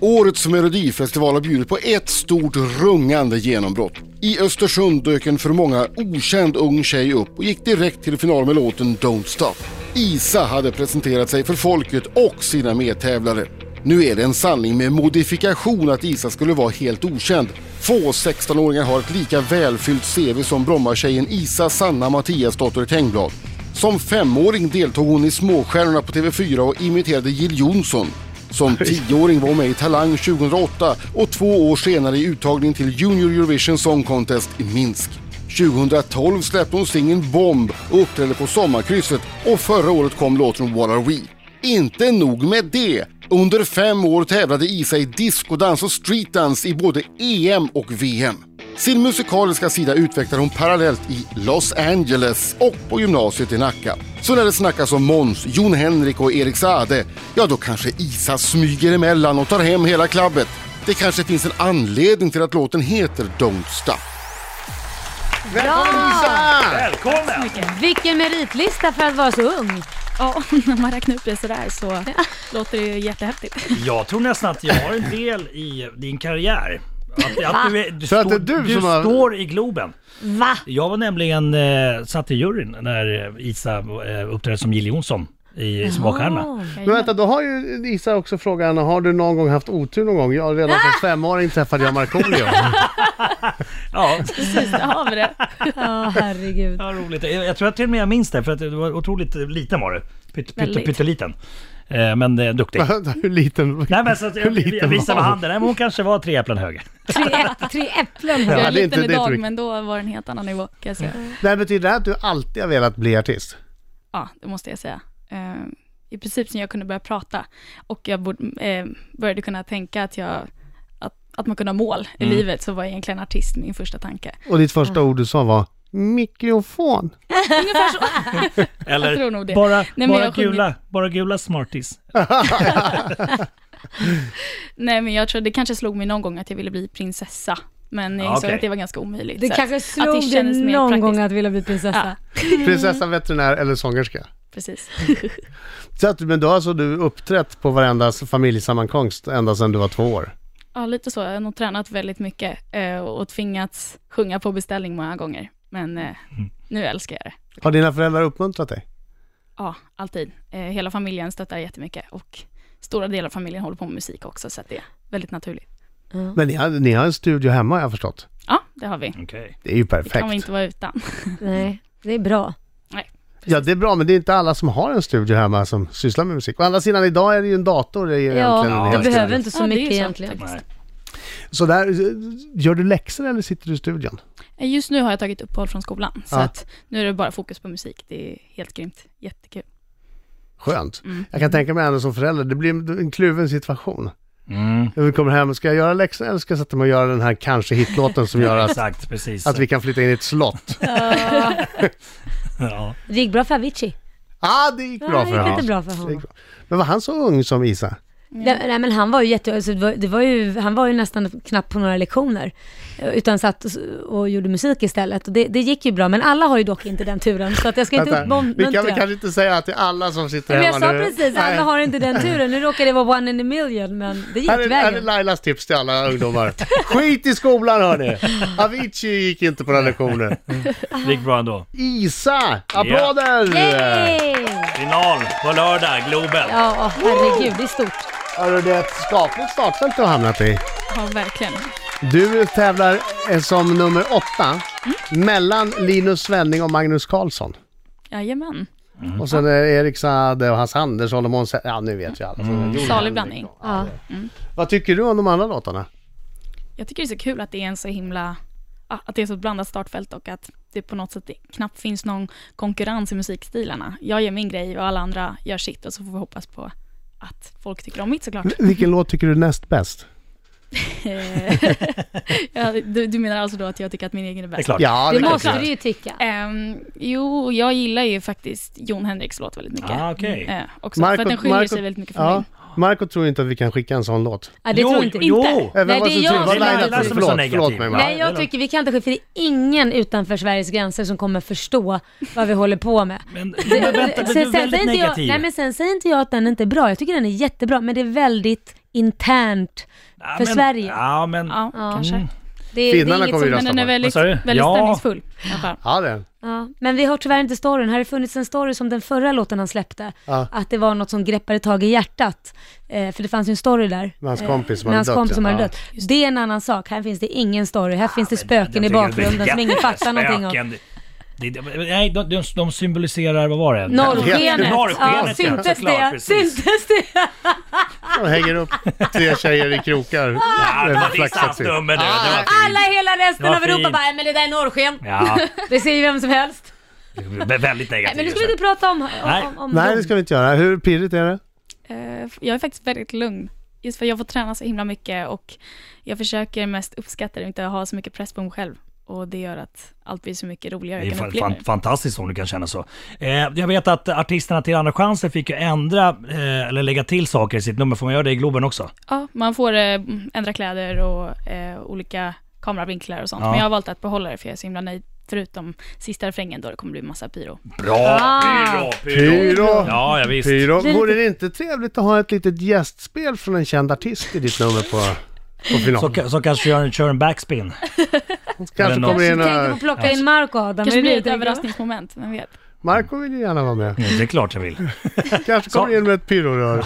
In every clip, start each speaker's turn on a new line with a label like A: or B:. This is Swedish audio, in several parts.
A: Årets Melodifestival har bjudit på ett stort rungande genombrott. I Östersund dök en för många okänd ung tjej upp och gick direkt till final med låten Don't Stop. Isa hade presenterat sig för folket och sina medtävlare. Nu är det en sanning med modifikation att Isa skulle vara helt okänd. Få 16-åringar har ett lika välfyllt CV som Brommatjejen Isa Sanna Mattiasdotter Tengblad. Som femåring deltog hon i Småstjärnorna på TV4 och imiterade Jill Johnson. Som tioåring var hon med i Talang 2008 och två år senare i uttagning till Junior Eurovision Song Contest i Minsk. 2012 släppte hon singeln Bomb och uppträdde på Sommarkrysset och förra året kom låten What Are We? Inte nog med det! Under fem år tävlade Isa i discodans och streetdance i både EM och VM. Sin musikaliska sida utvecklar hon parallellt i Los Angeles och på gymnasiet i Nacka. Så när det snackas om Måns, Jon Henrik och Erik Saade, ja då kanske Isa smyger emellan och tar hem hela klabbet. Det kanske finns en anledning till att låten heter Don't Stop.
B: Välkommen Lisa!
C: Välkommen!
D: Vilken meritlista för att vara så ung.
E: Ja, när man räknar upp det sådär så låter det ju jättehäftigt.
C: Jag tror nästan att jag har en del i din karriär. Att, att du, är- du,
B: Så att det är
C: står-
B: du
C: du
B: som har-
C: står i Globen.
D: Va?
C: Jag var nämligen, eh, satt i juryn när eh, Isa eh, uppträdde som Jill Johnson i Småstjärna.
B: Men vänta, då har ju Isa också frågan, har du någon gång haft otur någon gång? Ja, redan
C: Ah!
B: som femåring träffade jag Markoolio.
C: Ja,
E: Precis, där har vi det.
D: Ja, herregud.
C: ja, roligt. Jag, jag tror att till och med jag minns det, för att det var otroligt liten var du. Pytt, pytte,
E: Väldigt.
C: pytteliten. Eh, men eh, duktig.
B: Vänta, Hur liten?
C: Nej men så att jag,
B: liten
C: jag visade
B: var
C: med
B: hon?
C: handen, Nej, men hon kanske var tre äpplen högre.
D: Tre, äpp- tre äpplen.
E: Jag
B: det är
E: är
B: inte-
E: liten
B: det är inte
E: idag
B: mycket.
E: men då var det en helt annan nivå kan jag säga.
D: Mm.
B: Nej, betyder det att du alltid har velat bli artist?
E: Ja, det måste jag säga. Eh, I princip sen jag kunde börja prata och jag borde, eh, började kunna tänka att, jag, att, att man kunde ha mål i
D: Mm.
E: livet så var jag egentligen artist min första tanke.
B: Och ditt
C: Ah.
B: första ord du sa var mikrofon.
C: Eller
E: tror nog det.
C: bara,
E: men
C: bara,
E: jag sjunger-
C: gula, bara gula smarties.
E: Nej men jag tror det kanske slog mig någon gång att jag ville bli prinsessa. Men jag
C: Ja,
E: insåg
C: okej.
E: att det var ganska omöjligt.
D: Ah, Det
E: så
D: kanske
E: att-
D: slog
E: att det
D: dig
E: kändes mer
D: någon
E: praktiskt.
D: gång att vilja bli prinsessa.
B: Prinsessa, veterinär eller sångerska.
E: Precis.
B: Så att, men då har alltså du uppträtt på varenda familjesammankomst ända sedan du var två år?
E: Ja, lite så. Jag har nog tränat väldigt mycket eh, och tvingats sjunga på beställning många gånger. Men eh,
D: Mm.
E: nu älskar jag det.
B: Har dina föräldrar uppmuntrat dig?
E: Ja, alltid. Eh, Hela familjen stöttar jättemycket och stora delar av familjen håller på med musik också, så att det är väldigt naturligt.
B: Men ni har, ni har en studio hemma har jag förstått.
E: Ja, det har vi.
C: Okej.
B: Det är ju
E: Det kan vi
B: perfekt.
E: inte vara utan.
D: Nej, det är bra.
B: Ja, det är bra, men det är inte alla som har en studio hemma som sysslar med musik. Å andra sidan, idag är det ju en dator. Det är ju egentligen en
D: Ja,
B: hel
D: det
B: studio.
D: behöver inte så
E: Ja, det är ju
D: mycket
E: sant
D: egentligen.
C: Nej.
B: Så där, gör du läxor eller sitter du i studion?
E: Eh, Just nu har jag tagit uppehåll från skolan, så
B: Ja.
E: att nu är det bara fokus på musik. Det är helt grymt. Jättekul.
B: Skönt.
D: Mm.
B: Jag kan tänka mig henne som förälder, det blir en en kluven situation.
C: Mm.
B: När vi kommer hem, ska jag göra läxor eller ska jag sätta mig och göra den här kanske hitlåten som gör att,
C: Exakt, precis.
B: att vi kan flytta in i ett slott?
C: ja.
D: Det gick bra för Avicii.
B: Ah, det gick bra
D: Nej,
B: för
D: det gick
B: honom.
D: inte bra för
B: Det gick
D: honom.
B: bra. Men var han så ung som Isa? Mm.
D: Nej, nej men han var ju jätte, alltså, det var, det var ju, han var ju nästan knappt på några lektioner. eh, Utan satt och, och gjorde musik istället. Och det, det gick ju bra, men alla har ju dock inte den turen. Så att jag ska inte
B: Vänta, vi kan väl
D: uppmuntra.
B: kanske inte säga till alla som sitter
D: Men
B: hemma
D: jag sa
B: nu.
D: precis,
B: Nej.
D: alla har inte den turen. Nu råkar det vara one in a million, men det gick
B: Här är, här är
D: vägen.
B: Lailas tips till alla ungdomar. Skit i skolan hörni! Avicii gick inte på några lektioner.
C: Det gick bra ändå.
B: Isa! Applåder!
D: Yay!
C: Final på lördag, Globen.
D: Ja, herregud, det är stort.
B: Hörru, det är ett skapligt startfält du har hamnat i.
E: Ja, verkligen.
B: Du tävlar eh, som nummer åtta mellan Linus Svenning och Magnus Karlsson.
E: Jajamän.
B: Och sen är det Erik Saade och Hasse Andersson och Måns Ja, nu vet jag alla. Mm.
E: Salig blandning.
D: Ja.
B: Vad tycker du om de andra låtarna?
E: Jag tycker det är så kul att det är en så himla, ja, att det är så ett blandat startfält och att det på något sätt knappt finns någon konkurrens i musikstilarna. Jag gör min grej och alla andra gör sitt och så får vi hoppas på att folk tycker om mitt såklart.
C: Mm.
B: Vilken låt tycker du är näst bäst?
E: Eh, ja, du, du menar alltså då att jag tycker att min egen är
C: Det är
E: bäst?
C: klart.
B: Ja,
D: Det
B: kan
D: måste
B: jag
D: du
B: säga.
D: ju tycka.
C: Eh,
E: Ehm, jo, jag gillar ju faktiskt Jon Henriks låt väldigt mycket.
C: Ah, okej.
E: Eh, också, för att
B: Marco-
E: den skiljer
B: Marco-
E: sig väldigt mycket från
B: Ja.
E: min.
B: Marco tror inte att vi kan skicka en sån låt.
D: Ja, det
C: Jo,
D: tror inte.
C: jo.
D: Inte?
B: Även
D: Nej,
B: vad
D: det
B: Eh, som
D: är jag
B: tror-
D: som
B: vad
C: Det är
B: Laila
D: är
C: Laila
B: tror.
C: som är
B: Förlåt,
C: så
B: förlåt
C: negativ.
B: mig Marco.
C: Ja,
D: Nej,
C: det är
D: jag
C: lugnt.
D: tycker vi kan inte skicka, för det är ingen utanför Sveriges gränser som kommer förstå vad vi håller på med.
C: Men, men vänta, men du är väldigt
D: säger inte jag,
C: negativ.
D: nej, men sen säger inte jag att den inte är bra, jag tycker den är jättebra, men det är väldigt internt
C: Ja,
D: för
C: men-
D: Sverige.
C: Ja, men...
E: Ja,
D: Ja.
E: kanske.
D: Det, är- det
B: Finnarna
D: är inget
B: kommer
D: som,
B: ju
E: Men den är väldigt,
C: Vad sa du?
E: väldigt
C: Ja.
E: stämningsfull. i alla fall.
B: Ja, det.
D: ja. Men vi har tyvärr inte storyn, här har funnits en story som den förra låten han släppte,
B: Ja.
D: att det var något som greppade tag i hjärtat, eh, för det fanns ju en story där. Eh,
B: Med hans kompis som
D: med
B: hade
D: hans
B: dött.
D: kompis som
B: ja.
D: hade dött. Det är en annan sak, här finns det ingen story, här finns det spöken i
C: Jag tycker att det är
D: bakgrunden som ingen fattar någonting om.
C: jättespöken. Det- det- Nej, de, de, de symboliserar, vad var det?
D: Norrskenet! Ja,
C: Norrskenet, ja,
D: syntes
C: såklart,
D: det?
C: precis.
D: Syntes det?
B: Ja. De hänger upp tre tjejer i
C: Ja,
B: krokar.
C: det
B: Eller
C: var ditt
B: flaxar sig.
C: saftnummer du. Det var
D: Alla i hela resten
C: Det var
D: av Europa
C: fint.
D: bara, "Nej, men det där är norrsken.
C: Ja,
D: Det ser ju vem som helst.
C: det är väldigt
D: Nej,
C: negativt.
D: men nu ska vi inte prata om, om,
C: Nej.
D: om, om
B: Nej,
D: dem.
B: det ska vi inte göra. Hur pirrigt är det?
E: Eh, Jag är faktiskt väldigt lugn. Just för jag får träna så himla mycket och jag försöker mest uppskatta det och inte ha så mycket press på mig själv. Och det gör att allt blir så mycket roligare.
C: Det är
E: Jag kan
C: fan,
E: uppleva
C: fan,
E: det.
C: fantastiskt om du kan känna så. Eh, jag vet att artisterna till Andra chansen fick ju ändra eh, eller lägga till saker i sitt nummer. Får man göra det i Globen också?
E: Ja, man får eh, ändra kläder och eh, olika kameravinklar och sånt.
C: Ja.
E: Men jag har valt att behålla det för jag är så himla nöjd. Förutom sista refrängen då det kommer bli massa pyro.
C: Bra!
D: Ah.
B: Pyro!
C: Ja, ja, visst.
B: Pyro. Vore det inte trevligt att ha ett litet gästspel från en känd artist i ditt nummer på, på
C: Så,
B: final?
C: ka- så kanske jag kör en backspin.
B: Kanske kommer
D: Kanske
B: in eh,
D: tänkte på
B: några...
D: att plocka in Marco Adam.
E: Kanske
D: är det
E: blir det ett
D: tänker?
E: överraskningsmoment, vem vet?
B: Marco vill ju gärna vara med.
C: Mm, Det är klart jag vill.
B: Kanske kommer in med ett pyrorör.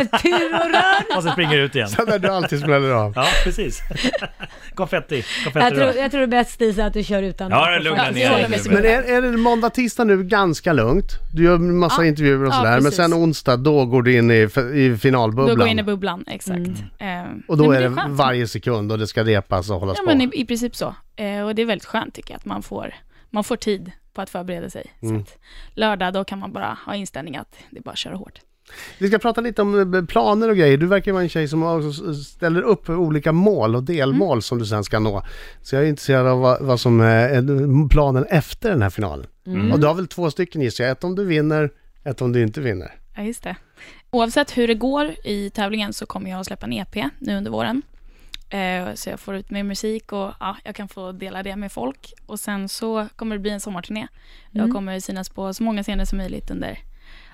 D: Ett pyrorör.
C: Och sen springer jag ut igen.
B: Den där du alltid smäller av.
C: Ja, precis. Konfetti.
D: Jag tror,
C: Konfetti.
D: jag tror det är bäst Lisa att du kör utan.
C: Ja,
D: Marco.
C: lugna
D: Ja,
C: ner
D: håller
C: dig
D: med.
C: nu.
B: Men är, är det måndag, tisdag nu ganska lugnt? Du gör en massa
E: Ja.
B: intervjuer och
E: Ja,
B: sådär, men
E: precis.
B: sen onsdag då går du in i, f- i
E: Då
B: finalbubblan.
E: går jag in i bubblan, exakt.
D: Mm.
E: Eh,
B: och då
E: nej, men
B: är det
E: skönt.
B: varje sekund och det ska repas och hållas
E: Ja
B: på.
E: men i, i princip så. Eh, och det är väldigt skönt tycker jag att man får, man får tid på att förbereda sig. Så att lördag då kan man bara ha inställning att det är bara att köra hårt.
B: Vi ska prata lite om eh, planer och grejer. Du verkar vara en tjej som också s- ställer upp olika mål och delmål
E: Mm.
B: som du sen ska nå. Så jag är intresserad av vad, vad som eh, är planen efter den här finalen.
E: Mm.
B: Och du har väl två stycken gissar jag. Ett om du vinner, ett om du inte vinner.
E: Ja just det. Oavsett hur det går i tävlingen så kommer jag att släppa en EP nu under våren. Eh, så jag får ut mer musik och ja, jag kan få dela det med folk. Och sen så kommer det bli en sommarturné. Jag kommer synas på så många scener som möjligt under,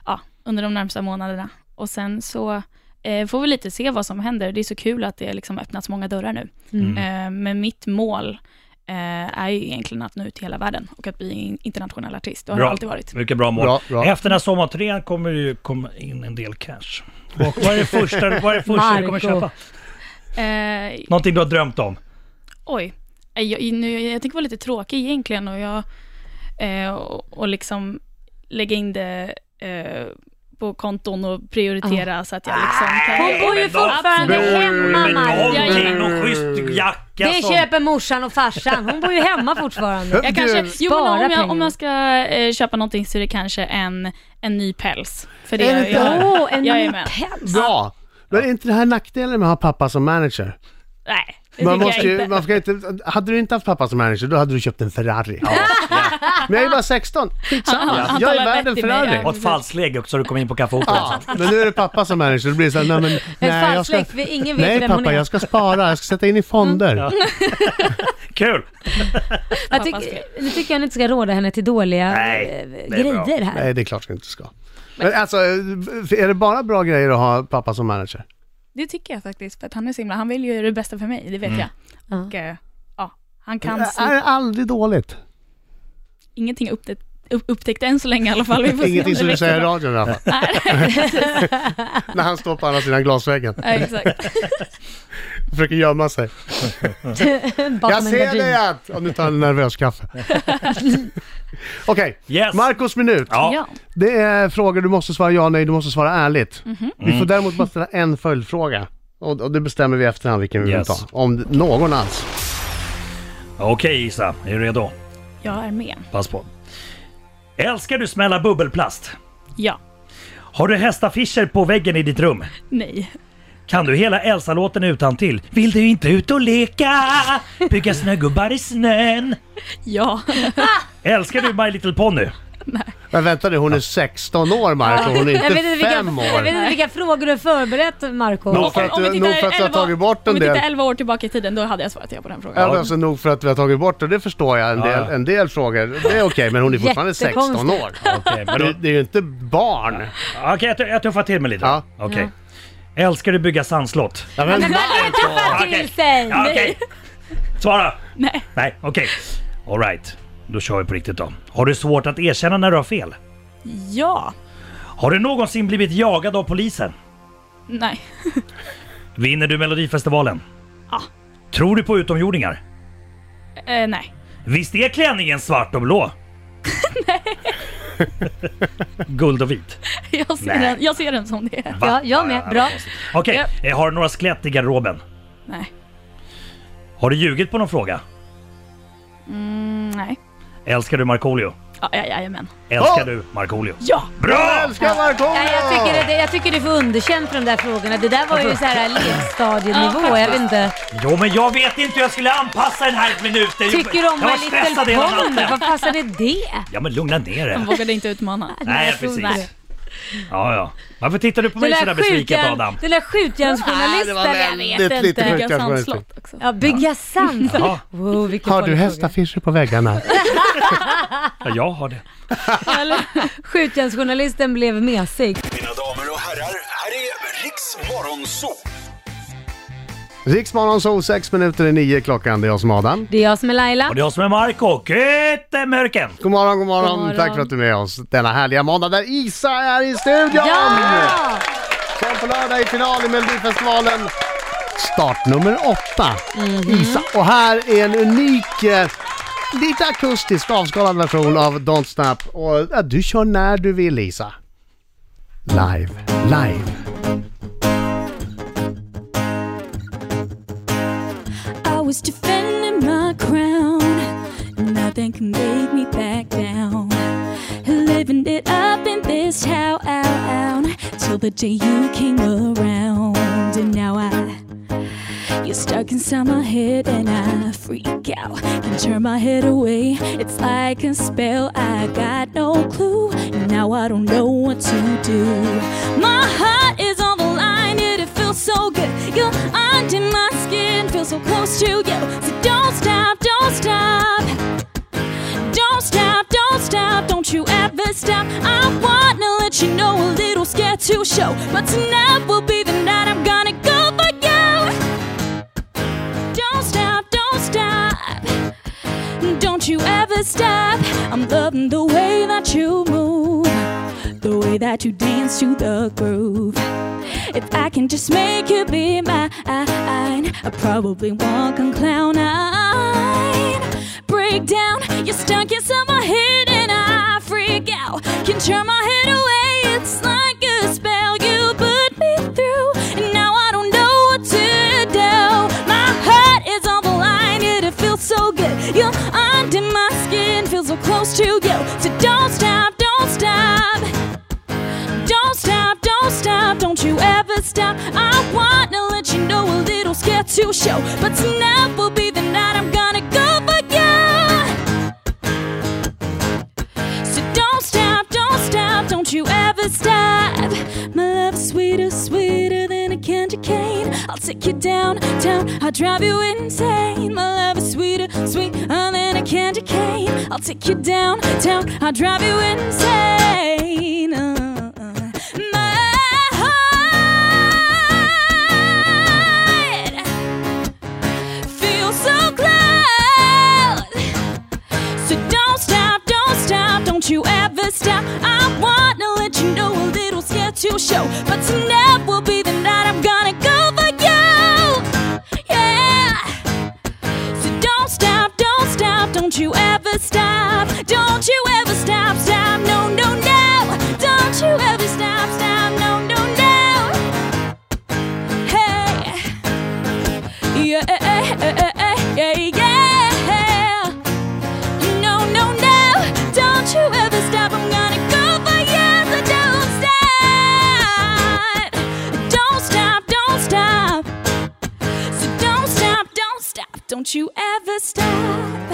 E: ja, under de närmsta månaderna. Och sen så eh, får vi lite se vad som händer. Det är så kul att det liksom öppnats många dörrar nu. Eh, men mitt mål eh, är ju egentligen att nå ut till hela världen och att bli en internationell artist. Det har det alltid varit.
C: Mycket bra mål.
B: Bra, bra.
C: Efter den här sommarturnén kommer det ju komma in en del cash. Och vad är det första, vad är det första du kommer
D: Marco.
C: köpa?
E: Eh,
C: Någonting du har drömt om?
E: Oj. Eh, Jag, nu, jag tänker vara lite tråkig egentligen och jag... Eh, och, och liksom lägga in det eh, på konton och prioritera så att jag liksom kan...
D: Hon bor ju
C: men då-
D: fortfarande
B: Absolut.
D: hemma
B: Men
D: Marco.
E: Jag-
C: Någonting, någon schysst jacka
D: Det
C: som...
D: köper morsan och farsan. Hon bor ju hemma fortfarande.
E: Jag kanske, jo, men
D: Spara
E: om, jag, om
D: pengarna.
E: jag ska eh, köpa någonting så är det kanske en, en ny päls. För det
B: Är det
E: jag,
B: inte-
E: jag,
D: Åh, en
E: Jag är
D: ny
E: med.
D: päls.
B: Bra! Men är inte det här nackdelen med att ha pappa som manager?
E: Nej, det
B: Man
E: tycker
B: måste
E: jag
B: ju,
E: inte.
B: man ska inte, hade du inte haft pappa som manager, då hade du köpt en Ferrari. Men jag är ju bara 16,
E: Han-
B: skitsamma.
E: han
B: Jag är
E: talar
B: värd en
E: vett i mig,
B: Ferrari.
E: ja.
C: Och ett falsläge också, du kommer in på kaffeoperan.
B: Ja, men nu är det pappa som manager, då blir det såhär, nej men... Nej, jag ska,
D: falsk fläkt, ingen vet
B: nej
D: vem hon
B: pappa,
D: är. Mm.
B: jag ska spara, jag ska sätta in i fonder.
C: Kul!
D: Jag
E: Pappas
D: tycker-
E: fel.
D: nu tycker jag ni inte ska råda henne till dåliga
C: Nej,
D: eh,
C: det är bra.
D: grejer här.
B: Nej, det är klart du inte ska. Men alltså, är det bara bra grejer att ha pappa som manager?
E: Det tycker jag faktiskt, för att han är så himla, han vill ju det bästa för mig, det
B: Mm.
E: vet jag.
D: Ja.
E: Och, eh, ja, han
B: Det
E: kan
B: är aldrig dåligt.
E: ingenting upptäckt, upp, upptäckt än så länge i alla fall. Vi får se om
B: Ingenting
E: det
B: som du
E: växer
B: säger i
E: fram.
B: radion i alla fall. När han står på andra sidan glasväggen
E: Ja, exakt.
B: försöker gömma sig.
D: Bakom
B: Jag
D: en
B: ser
D: gardin.
B: dig att... Om du tar en nervös kaffe. Okej,
C: Yes!
B: Marcos minut.
C: Ja,
E: Ja.
B: Det är frågor du måste svara ja, nej, du måste svara ärligt.
D: Mhm.
B: Vi
C: Mm.
B: får däremot bara ställa en följdfråga. Och, och det bestämmer vi i efterhand vilken vi
C: Yes.
B: vill ta. Om d- någon alls.
C: okej Isa, är du redo?
E: Jag är med.
C: Pass på. Älskar du smälla bubbelplast?
E: Ja.
C: Har du hästaffischer på väggen i ditt rum?
E: Nej.
C: Kan du hela Elsa-låten utan till? Vill du inte ut och leka? Bygga snögubbar i snön?
E: Ja.
B: Eh,
C: Älskar du My Little Pony?
B: Men vänta nu, hon är 16 år Marco, hon är
D: Jag vet
B: inte
D: vilka,
B: 5
D: Jag vet
B: år.
D: inte vilka frågor du har förberett Marco.
B: Nog för att,
E: Om vi
B: du-
E: tittar
B: nog för att vi har
E: 11
B: tagit bort en
E: Om vi
B: del.
E: tittar 11 år tillbaka i tiden, då hade jag svarat ja på den frågan.
B: Ja, men alltså nog för att vi har tagit bort det, det förstår jag. En
C: Ja, ja.
B: del, en del frågor, det är okej, men hon är fortfarande 16 år.
C: Okej, men
B: Men
C: då-
B: det, det är ju inte barn.
C: Okej, jag, tu- jag tuffar till mig lite.
B: Ja.
C: Okej. Älskar du bygga sandslott?
B: Ja, men,
D: Men vad är det tuffar
C: Okej.
D: till sig?
C: Ja, okej. Svara!
E: Nej.
C: Nej, okej. All Alright, då kör vi på riktigt då. Har du svårt att erkänna när du har fel?
E: Ja.
C: Har du någonsin blivit jagad av polisen?
E: Nej.
C: Vinner du Melodifestivalen?
E: Ja.
C: Tror du på utomjordingar?
E: Eh, nej.
C: Visst är klänningen svart och blå? Nej. Guld och vit.
E: Jag ser,
C: Nej.
E: Den, jag ser den som det är.
C: Va?
D: Ja, jag med. Bra.
C: Okej, eh, har du några skelett i garderoben?
E: Nej.
C: Har du ljugit på någon fråga?
E: Mm, nej.
C: Älskar du Markoolio?
E: Ja, ja, jajamän.
C: Älskar
B: Ja.
C: du Markoolio?
E: Ja!
C: Bra!
B: älskar Markoolio!
D: Nej, jag, tycker att det, jag tycker det är för underkänt för de där frågorna. Det där var ju så här lekstadienivå. Jag vet inte.
C: Jo men jag vet inte hur jag skulle anpassa den här minuten.
D: Tycker du
C: jag
D: om
C: var
D: My
C: stressad
D: Little
C: hela
D: Pony? Vad
C: natten.
D: passade det?
C: Ja men lugna ner
E: Jag
C: dig.
E: vågade inte utmana.
D: Nej,
C: Nej
D: jag tror inte.
C: precis. Ja ja. Varför tittar du på
D: Den
C: mig sådär
D: där
C: besviket Adam?
D: skjutjärn- den där skjutjärnsjournalisten. Jag
B: väldigt
D: vet
B: lite
D: inte.
B: sjukt.
E: Bygga sandslott också.
D: Ja, bygga sand.
C: Ja,
D: Wow, vilken
B: Har du
D: farlig fråga.
B: hästaffischer på väggarna?
C: ja, jag har det.
D: Skjutjärnsjournalisten blev mesig.
F: Mina damer och herrar, här är Riks Morgonzoo!
B: Riksmorgon så 6 minuter i 9 klockan, det är jag som är Adam.
D: Det är jag som är Laila.
C: Och det är jag som är Marco. Götemörken!
B: God morgon, god morgon,
D: God morgon.
B: Tack för att du är med oss denna härliga måndag där Isa är i studion!
D: Ja!
B: Som på lördag i final i Melodifestivalen. Start nummer åtta,
D: Mhm.
B: Isa. Och här är en unik, eh, lite akustisk avskalad version av Don't Snap. Och eh, du kör när du vill Isa. Live, live.
G: I was defending my crown. Nothing can make me back down. Living it up in this town till the day you came around, and now I. You're stuck inside my head and I freak out. Can turn my head away. It's like a spell. I got no clue. and Now I don't know what to do. My heart is on the line and it feels so good. You're under my skin. Feel so close to you. So don't stop, don't stop. Don't stop, don't stop, don't you ever stop. I wanna let you know a little scared to show. But tonight will be the night I'm gonna go for you. Don't stop, don't stop. Don't you ever stop. I'm loving the way that you move, the way that you dance to the groove. If I can just make you be mine, I probably walk on cloud nine. Break down, you're stuck inside my head, and I freak out. Can turn my head away, it's like a spell you put me through. And now I don't know what to do. My heart is on the line, and it feels so good. You're under my skin, feel so close to you. So don't stop, don't stop. Don't stop, don't stop, don't you ever stop. I wanna let you know a little scared to show. But tonight will be the night I'm gonna go for you. So don't stop, don't stop, don't you ever stop. My love is sweeter, sweeter than a candy cane. I'll take you down, down, I'll drive you insane. My love is sweeter, sweeter than a candy cane. I'll take you down, down, I'll drive you insane. Uh, uh, my heart feels so close. So don't stop, don't stop, don't you ever stop. I wanna let you know a little scared to show. But tonight will be the night I'm gonna go for you. Yeah. So don't stop, don't stop, don't you ever stop. Don't you ever stop, stop, no, no, no. Don't you ever stop, stop, no, no, no. Hey. Yeah, yeah, yeah. No, no, no, don't you ever stop. I'm gonna go for years. So don't stop. Don't stop, don't stop. So don't stop, don't stop. Don't you ever stop.